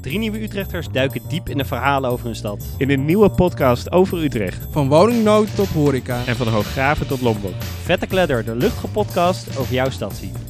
Drie nieuwe Utrechters duiken diep in de verhalen over hun stad. In een nieuwe podcast over Utrecht. Van woningnood tot horeca. En van Hooggraven tot Lombok. Vette Kledder, de luchtige podcast over jouw stad zien.